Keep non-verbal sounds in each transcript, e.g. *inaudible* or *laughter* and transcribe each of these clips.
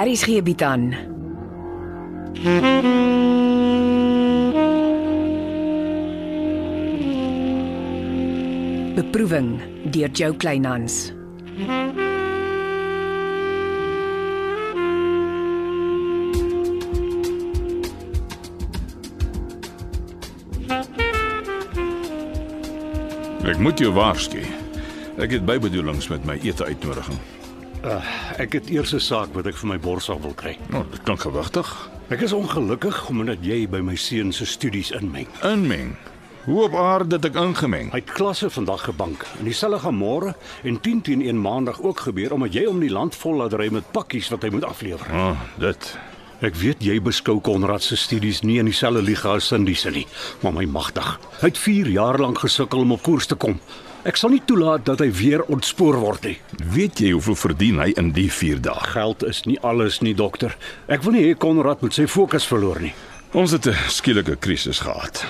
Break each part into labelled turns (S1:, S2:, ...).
S1: Aries gee bied aan. Beproeving deur Jo Kleinhans.
S2: Ek moet jou waarsku. Ek het bybedoelings met my ete uitnodiging.
S3: Ek het eers 'n saak wat ek vir my borsal wil kry.
S2: Nou, dit klink gewigtig.
S3: Ek is ongelukkig omdat jy by my seun se studies inmeng.
S2: Inmeng. Hoe op aarde het ek ingemeng?
S3: Hy het klasse vandag gebank en dieselfde gaan môre en 10 teen 1 maandag ook gebeur omdat jy om die land vol laat ry met pakkies wat hy moet aflewer.
S2: Ah, oh, dit.
S3: Ek weet jy beskou Konrad se studies nie in dieselfde liga as Cindy se nie, maar my magtig. Hy het 4 jaar lank gesukkel om op koers te kom. Ek sal nie toelaat dat hy weer ontspoor word nie.
S2: Weet jy hoeveel verdien hy in die 4 dae?
S3: Geld is nie alles nie, dokter. Ek wil nie hê Konrad moet sy fokus verloor nie.
S2: Ons het 'n skielike krisis gehad.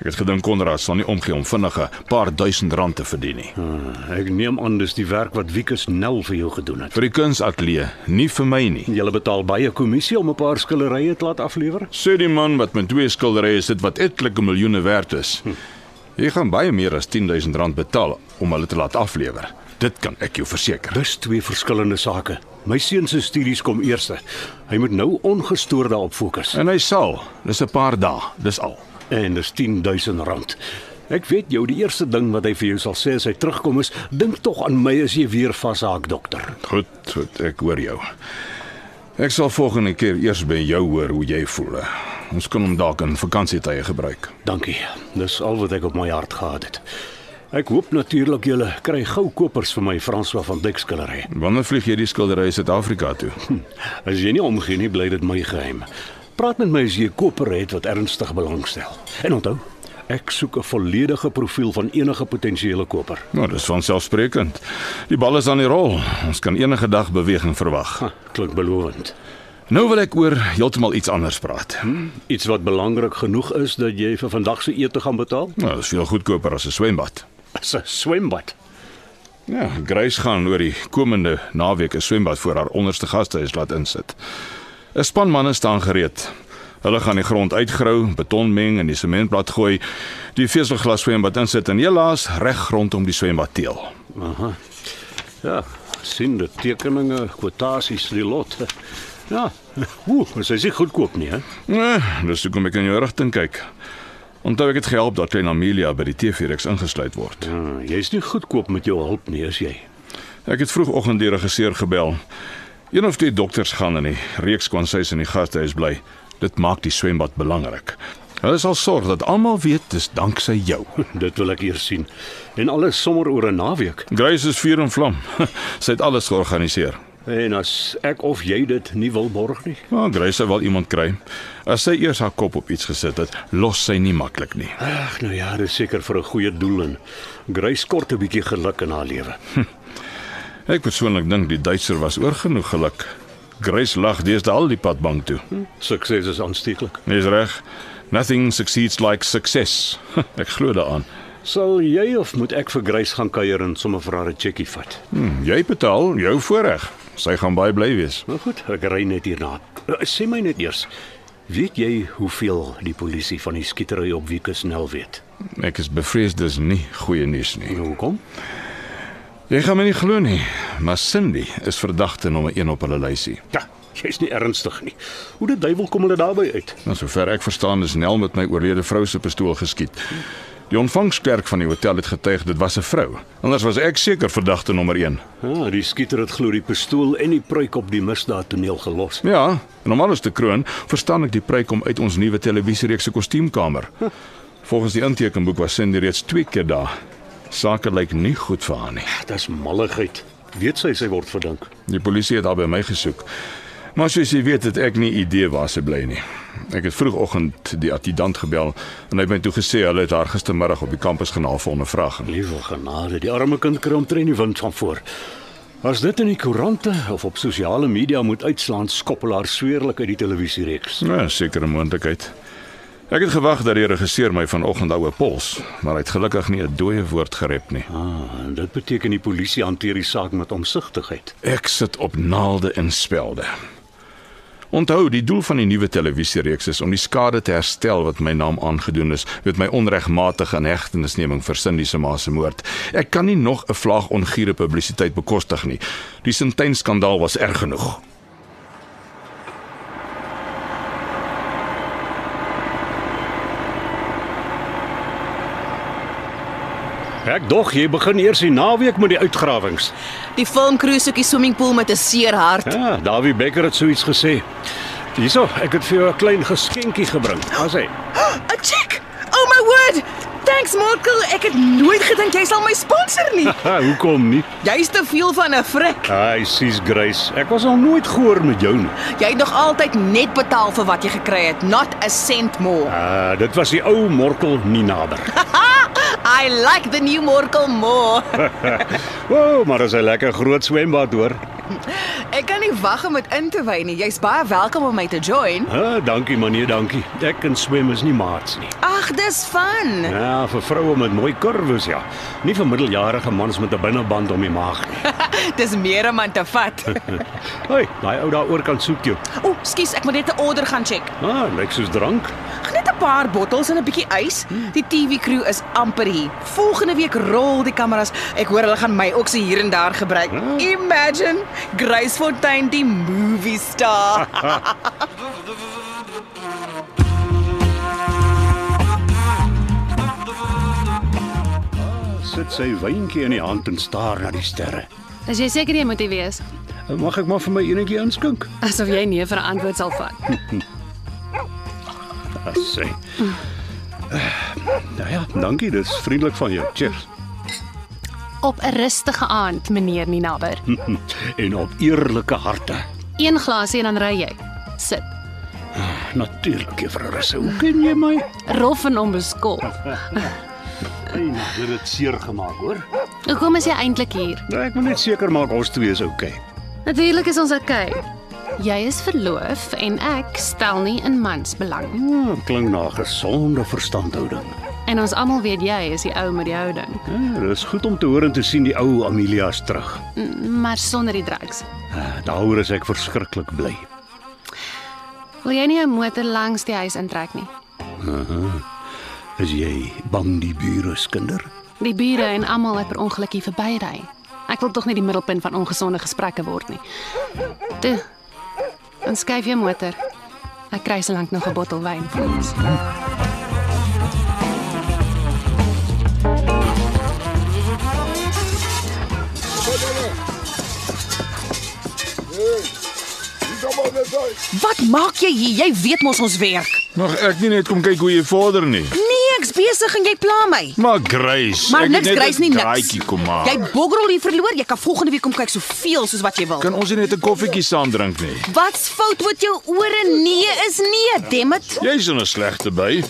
S2: Ek het gedink Konrad sal nie omgee om vinnige paar duisend rand te verdien nie.
S3: Ah, Ek neem aan dis die werk wat Wikus Nel vir jou gedoen het.
S2: Vir die kunsatelier, nie vir my nie.
S3: Jy betaal baie kommissie om 'n paar skillerye te laat aflewer.
S2: Sê die man wat met twee skilderye sit wat etlike miljoene werd is. Jy gaan baie meer as 10000 rand betaal om hulle te laat aflewer. Dit kan ek jou verseker.
S3: Dis twee verskillende sake. My seun se studies kom eers. Hy moet nou ongestoord daarop fokus.
S2: En hy sal. Dis 'n paar dae, dis al.
S3: En dis 10000 rand. Ek weet jou die eerste ding wat hy vir jou sal sê as hy terugkom is, dink tog aan my as jy weer vashaak, dokter.
S2: Goed, goed, ek hoor jou. Ek sal volgende keer eers by jou hoor hoe jy voel. Ons kan hom dalk in vakansietye gebruik.
S3: Dankie. Dis al wat ek op my hart gehad het. Ek hoop natuurlik julle kry gou kopers vir my François van Dyk skildery.
S2: Wanneer vlieg jy die skildery Suid-Afrika toe? *laughs*
S3: As jy nie omgee nie, bly dit my geheim. Praat met my as jy 'n koper het wat ernstig belangstel. En onthou, ek soek 'n volledige profiel van enige potensiële koper.
S2: Nou, dis van selfsprekend. Die bal is aan die rol. Ons kan enige dag beweging verwag.
S3: Ha, klink belovend.
S2: Nou wil ek oor heeltemal iets anders praat.
S3: Iets wat belangrik genoeg is dat jy vir vandag se ete gaan betaal? *laughs*
S2: Nou, dis veel goedkoper as 'n swembad.
S3: Dis 'n swembad.
S2: Ja, Grace gaan oor die komende naweek 'n swembad vir haar onderste gastehuis laat insit. 'n Span manne staan gereed. Hulle gaan die grond uitgrou, beton meng en die sementplat gooi, die veselglas swembad insit en helaas reg rondom die swembad teel.
S3: Aha. Ja, sien dit tekeninge, kwotasies, die lot. Ja, oeh, dit is nie goedkoop nie, hè?
S2: Nee, dis hoekom ek in jou rigting kyk. Onthou ek het gehelp dat klein Amelia by die TV-reeks ingesluit word.
S3: Ja, jy's nie goedkoop met jou hulp nie, is jy? *laughs*
S2: Ek het vroegoggend die regisseur gebel. Een of twee dokters gaan in die reeks kon sy in die gastehuis bly. Dit maak die swembad belangrik. Hulle sal sorg dat almal weet dis danksy jou.
S3: Dit wil ek eers sien. En alles sommer oor 'n naweek.
S2: Grace is vuur en vlam. *laughs* sy het alles georganiseer.
S3: En as ek of jy dit nie wil borg nie.
S2: Maar Grace sal wel iemand kry. As sy eers haar kop op iets gesit het, los sy nie maklik nie.
S3: Ag, nou ja, dis seker vir 'n goeie doel en Grace kort 'n bietjie geluk in haar lewe.
S2: Ek persoonlik dink die Duitser was oor genoeg geluk. Grace lag deesdae al die pad bank toe.
S3: Sukses is aansteeklik.
S2: Dis reg. Nothing succeeds like success. *laughs* Ek glo daaraan.
S3: Sal jy of moet ek vir Grace gaan kuier en sommer vir haar 'n checkie vat?
S2: Hm, jy betaal jou voorreg. Sy gaan baie bly wees.
S3: Nou goed, ek ry net hierna. Eh, Sê my net eers, weet jy hoeveel die polisie van die skietery op Wikus Nel weet?
S2: Ek is bevrees dis nie goeie nuus nie.
S3: Hoekom?
S2: Jy gaan my nie glo nie, maar Cindy is verdagte nommer 1 op hulle lysie.
S3: Ja, jy's nie ernstig nie. Hoe die duiwel kom hulle daarby uit?
S2: Nou sover ek verstaan is Nel met my oorlede vrou se pistool geskiet. Die ontvangsklerk van die hotel het getuig dit was 'n vrou. Anders was ek seker verdagte nommer 1.
S3: Ja, die skieter het glo die pistool en die pruik op die misdaadtoneel gelos.
S2: Ja, en om alles te kroon, verstaan ek die pryk kom uit ons nuwe televisiereeks se kostuumkamer. Volgens die intekenboek was Cindy reeds 2 keer daar. Sake lyk nie goed vir haar nie.
S3: Dis malligheid. Weet sy sy word verdink.
S2: Die polisie het haar by my gesoek. Maar soos jy weet het ek nie idee waar sy bly nie. Ek het vroegoggend die adjutant gebel en hy het my toe gesê hulle het haar gistermiddag op die kampus genaal vir ondervraging.
S3: Liewe genade, die arme kind kry omtrent die wind van voor. As dit in die koerante of op sosiale media moet uitslaan, skop hulle haar sweerlik uit die televisiereeks.
S2: Ja, sekere moontlikheid. Ek het gewag dat die regisseur my vanoggend hou 'n pols, maar hy het gelukkig nie 'n dooie woord gerep nie.
S3: Ah, en dit beteken die polisie hanteer die saak met omsigtigheid.
S2: Ek sit op naalde en spelde. Onthou, die doel van die nuwe televisiereeks is om die skade te herstel wat my naam aangedoen is met my onregmatige inhegtenisneming vir Cindy se ma se moord. Ek kan nie nog 'n vlaag ongiere publisiteit bekostig nie. Die Sintyn skandaal was erg genoeg.
S3: Ek dog jy begin eers die naweek met die uitgrawings.
S4: Die filmkrew soek die swimmingpool met 'n seer
S3: *gasps*
S4: hart.
S3: Ja, Dawie Becker het so iets gesê. Hierso, ek het vir jou 'n klein geskenkie gebring. Daar's hy.
S4: 'n Check. Oh my word. Thanks Markel, ek het nooit gedink jy sal my sponsor nie.
S3: Ha, Ah, hoekom nie?
S4: Jy's te veel van 'n frik.
S3: Ai, sies Grace, ek was al nooit gehoor met jou nie.
S4: Jy het nog altyd net betaal vir wat jy gekry het, not a cent more.
S3: Ah, dit was die ou Morkel nie nader.
S4: I like the new Markel more.
S3: Woew, maar dis 'n lekker groot swembad hoor.
S4: Ek kan nie wag om dit in te wy nie. Jy's baie welkom om my te join.
S3: Ah, dankie man, nee, dankie. Ek kan swem is nie maats nie.
S4: Ag, dis
S3: *laughs*
S4: fun.
S3: Ja, vir vroue met mooi kurwes ja. Nie vir middeljarige mans met 'n binneband om die maag nie. *laughs*
S4: Dis meer om aan te vat.
S3: Hoi, daai ou daar oor kan soek jou.
S4: O, oh, skus, ek moet net 'n order gaan check.
S3: Ah, lyk soos drank.
S4: Net 'n paar bottels en 'n bietjie ys. Die TV crew is amper hier. Volgende week rol die kameras. Ek hoor hulle gaan my ook se hier en daar gebruik.
S2: Hmm.
S4: Imagine Grace Fontaine die movie
S2: *laughs*
S4: star.
S3: Sit sy wyntjie in die hand en staar na die sterre. Uh,
S5: As jy seker jy moet hier wees,
S3: Mag ek maar vir my enetjie inskink?
S5: asof jy nie vir 'n antwoord sal vat.
S3: As sy. Nou ja, dankie, dis vriendelik van jou. Cheers. *laughs*
S5: Op 'n rustige aand, meneer Ninaber.
S3: Hm. En op eerlike harte.
S5: Een glasie en dan ry jy. Sit.
S3: Natuurlik, juffrou Russe. Hoe ken jy my?
S5: Rof en onbeskof.
S3: *laughs* Hey, nou dit het seer gemaak, hoor.
S5: Hoekom is jy eintlik hier?
S3: Nou, ek moet net seker maak ons twee is okay.
S5: Natuurlik is ons okay. Jy is verloof en ek stel nie in mans belang.
S3: Hmm, klink na 'n gesonde verstandhouding.
S5: En ons almal weet jy is die ou met die houding,
S3: Ja, dis goed om te hoor en te sien die ou Amelia's terug.
S5: N- maar sonder die drugs.
S3: Ah, Daaroor is ek verskriklik bly.
S5: Wil jy nie jou motor langs die huis intrek nie?
S3: Is jy bang die bure skinder?
S5: Die bure en almal wat per ongeluk hier verbyry. Ek wil tog nie die middelpunt van ongesonde gesprekke word nie. Toe. Dan skuif jou motor. Ek kry so lank nog 'n bottel wyn vir ons.
S4: Wat maak jy hier? Jy weet mos ons werk.
S2: Mag ek nie net kom kyk hoe jy vorder nie.
S4: Nee, ek's besig en jy pla my.
S2: Maar Grace,
S4: Maar
S2: ek het
S4: niks
S2: net
S4: Grace
S2: 'n
S4: nie niks.
S2: draaitjie kom maak.
S4: Jy bogrol hier verloor. Jy kan volgende week kom kyk soveel soos wat jy wil.
S2: Kan ons nie net 'n koffietjie saam drink nie?
S4: Wat's fout met jou ore? Nee is nee, dammit.
S2: Jy's in 'n slegte by.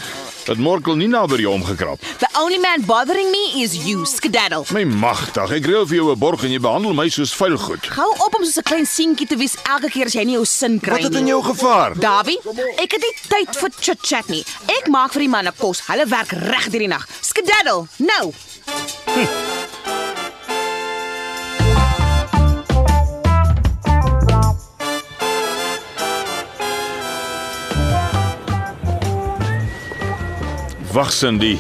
S2: Dat Morkel nie naby jou omgekrap.
S4: The only man bothering me is you, skedaddle.
S2: My magtig, ek reël vir jou 'n borg en jy behandel my soos vuil goed.
S4: Hou op om soos 'n klein seentjie te wees elke keer as jy nie jou sin kry
S2: Wat
S4: nie.
S2: het in jou gevaar?
S4: Davie, ek het nie tyd vir chit-chat nie. Ek maak vir die manne kos. Hulle werk reg deur die nag. Skedaddle, nou.
S2: Wag Cindy,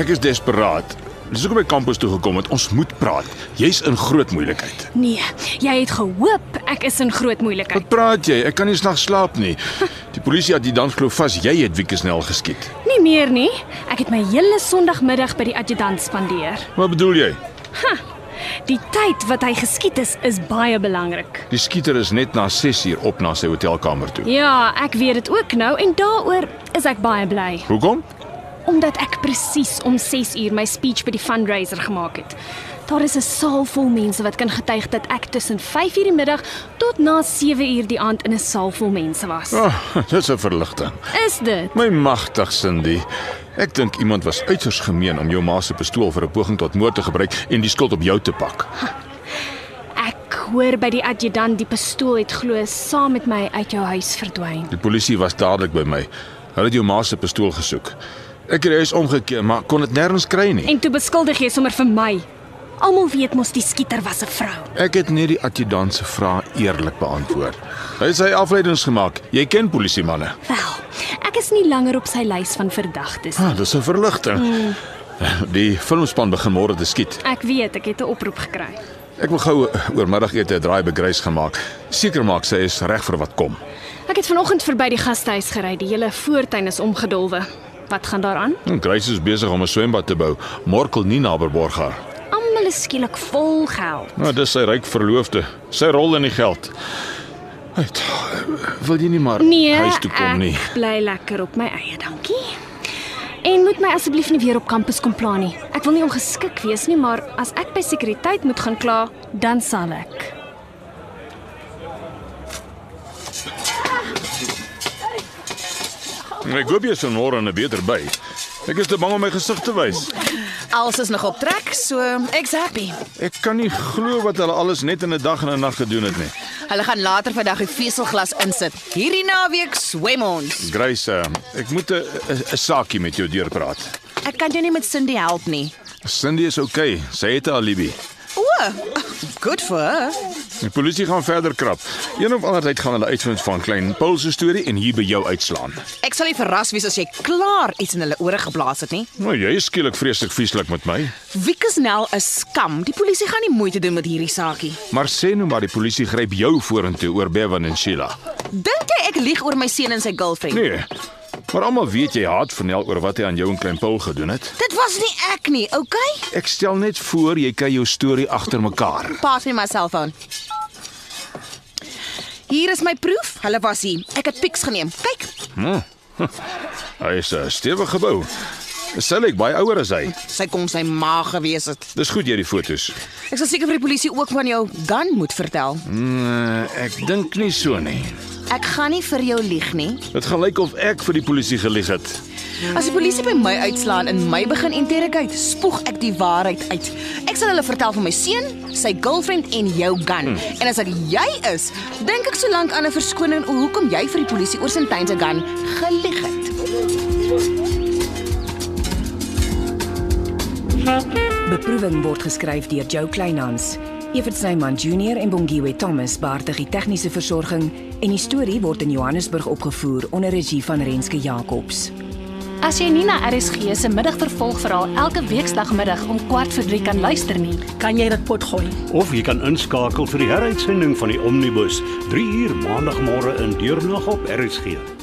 S2: ek is desperaat. Dis hoekom ek kampus toe gekom het. Ons moet praat. Jy's in groot moeilikheid.
S6: Nee, jy het gehoop ek is in groot moeilikheid.
S2: Wat praat jy? Ek kan nie s'nags slaap nie. Die polisie het die dans glo vas jy het Wieke snel geskiet.
S6: Nie meer nie. Ek het my hele Sondagmiddag by die adjutant spandeer.
S2: Wat bedoel jy?
S6: Die tyd wat hy geskiet is, is baie belangrik.
S2: Die skieter is net na 6uur op na sy hotelkamer toe.
S6: Ja, ek weet dit ook nou en daaroor is ek baie bly,
S2: Hoekom?
S6: omdat ek presies om 6 uur my speech by die fundraiser gemaak het. Daar is 'n saal vol mense wat kan getuig dat ek tussen 5 uur die middag tot na 7 uur die aand in 'n saal vol mense was.
S2: *laughs* Oh, dis 'n verligting.
S6: Is dit?
S2: My magtig Cindy. Ek dink iemand was uiters gemeen om jou ma se pistool vir 'n poging tot moord te gebruik en die skuld op jou te pak.
S6: Ek hoor by die adjutant die pistool het glo saam met my uit jou huis verdwyn.
S2: Die polisie was dadelik by my. Hulle het jou ma se pistool gesoek. Ek het die huis omgekeer, maar kon dit nêrens kry nie.
S6: En toe beskuldig jy sommer vir my. Almal weet mos die skieter was 'n vrou.
S2: Ek het net die adjutant se vraag eerlik beantwoord. Hy het sy afleidings gemaak. Jy ken polisie manne.
S6: Wel, ek is nie langer op sy lys van verdagtes. nie.
S2: Ah, dis 'n verligting. Die filmspan begin môre te skiet.
S6: Ek weet, ek het 'n oproep gekry.
S2: Ek wil gou oormiddagete 'n draai by Grace gemaak. Seker maak sy is reg vir wat kom.
S6: Ek het vanoggend verby die gastehuis gery. Die hele voortuin is omgedolwe. Wat gaan daaraan?
S2: Hm, Grace is besig om 'n swembad te bou. Morkel nie naby Borgar.
S6: Almal is skielik vol geld.
S2: Nou, dis sy ryk verloofde. Sy rol in die geld. Hey, wil jy nie maar
S6: Nee,
S2: huis toe kom
S6: ek
S2: nie? *laughs*
S6: bly lekker op my eie, dankie. En moet my asseblief nie weer op kampus kom pla nie. Ek wil nie ongeskik wees nie, maar as ek by sekuriteit moet gaan kla, dan sal ek.
S2: Ek hoop jy is môre aan 'n beter by. Ek is te bang om my gesig te wys.
S4: Alles is nog op trek, so ek's happy.
S2: Ek kan nie glo wat hulle alles net in 'n dag en 'n nag gedoen het nie.
S4: Hulle gaan later vandag die veselglas insit. Hierdie naweek swem ons.
S2: Grace, eh, ek moet 'n 'n- 'n saakie met jou deurpraat.
S4: Ek kan jou nie met Cindy help nie.
S2: Cindy is oukei, okay. sy het 'n alibi.
S4: O, good for her.
S2: Die polisie gaan verder krap. Een of ander tyd gaan hulle uitvind van klein Paul se storie en hier by jou uitslaan.
S4: Ek sal nie verras wees as jy klaar iets in hulle ore geblaas het nie.
S2: Nou jy is skielik vreeslik vieslik met my.
S4: Wiekesnel is skam. Die polisie gaan nie moeite doen met hierdie saakie.
S2: Maar sê nou maar die polisie gryp jou vorentoe oor Bevan en Sheila.
S4: Dink jy ek lieg oor my seun en sy girlfriend?
S2: Nee. Maar almal weet jy haat Vernel oor wat hy aan jou en klein Paul gedoen het.
S4: Dit was nie ek nie, okay?
S2: Ek stel net voor jy kry jou storie agter mekaar.
S4: Pas my my selfoon. Hier is my proef. Hulle was hier. Ek het pics geneem. Kyk,
S2: Hy is 'n stewige gebou. Sy lyk baie ouer as hy.
S4: sy kon sy ma gewees het.
S2: Dis goed jy die fotos.
S4: Ek sal seker vir die polisie ook van jou gun moet vertel.
S2: Mm, ek dink nie so nie.
S4: Ek gaan nie vir jou lieg nie.
S2: Dit gaan lyk of ek vir die polisie gelieg het.
S4: As die polisie by my uitslaan en my begin interrogate, spoeg ek die waarheid uit. Ek sal hulle vertel van my seun, sy girlfriend en jou gun. Hmm. En as dit jy is, dink ek solank aan 'n verskoning oor hoekom jy vir die polisie oor Sintyn se gun gelieg het.
S1: Beproeving word geskryf deur Jo Kleinhans. Evert Snyman Junior en Bongwe Thomas baartig die tegniese versorging en die storie word in Johannesburg opgevoer onder regie van Renske Jacobs.
S7: As jy Nina RSG se middagvervolgverhaal elke weekdagmiddag om 14:15 kan luister nie,
S8: Kan jy dit potgooi?
S3: Of jy kan inskakel vir die heruitsending van die Omnibus 3 uur maandagmôre in deurnag op RSG.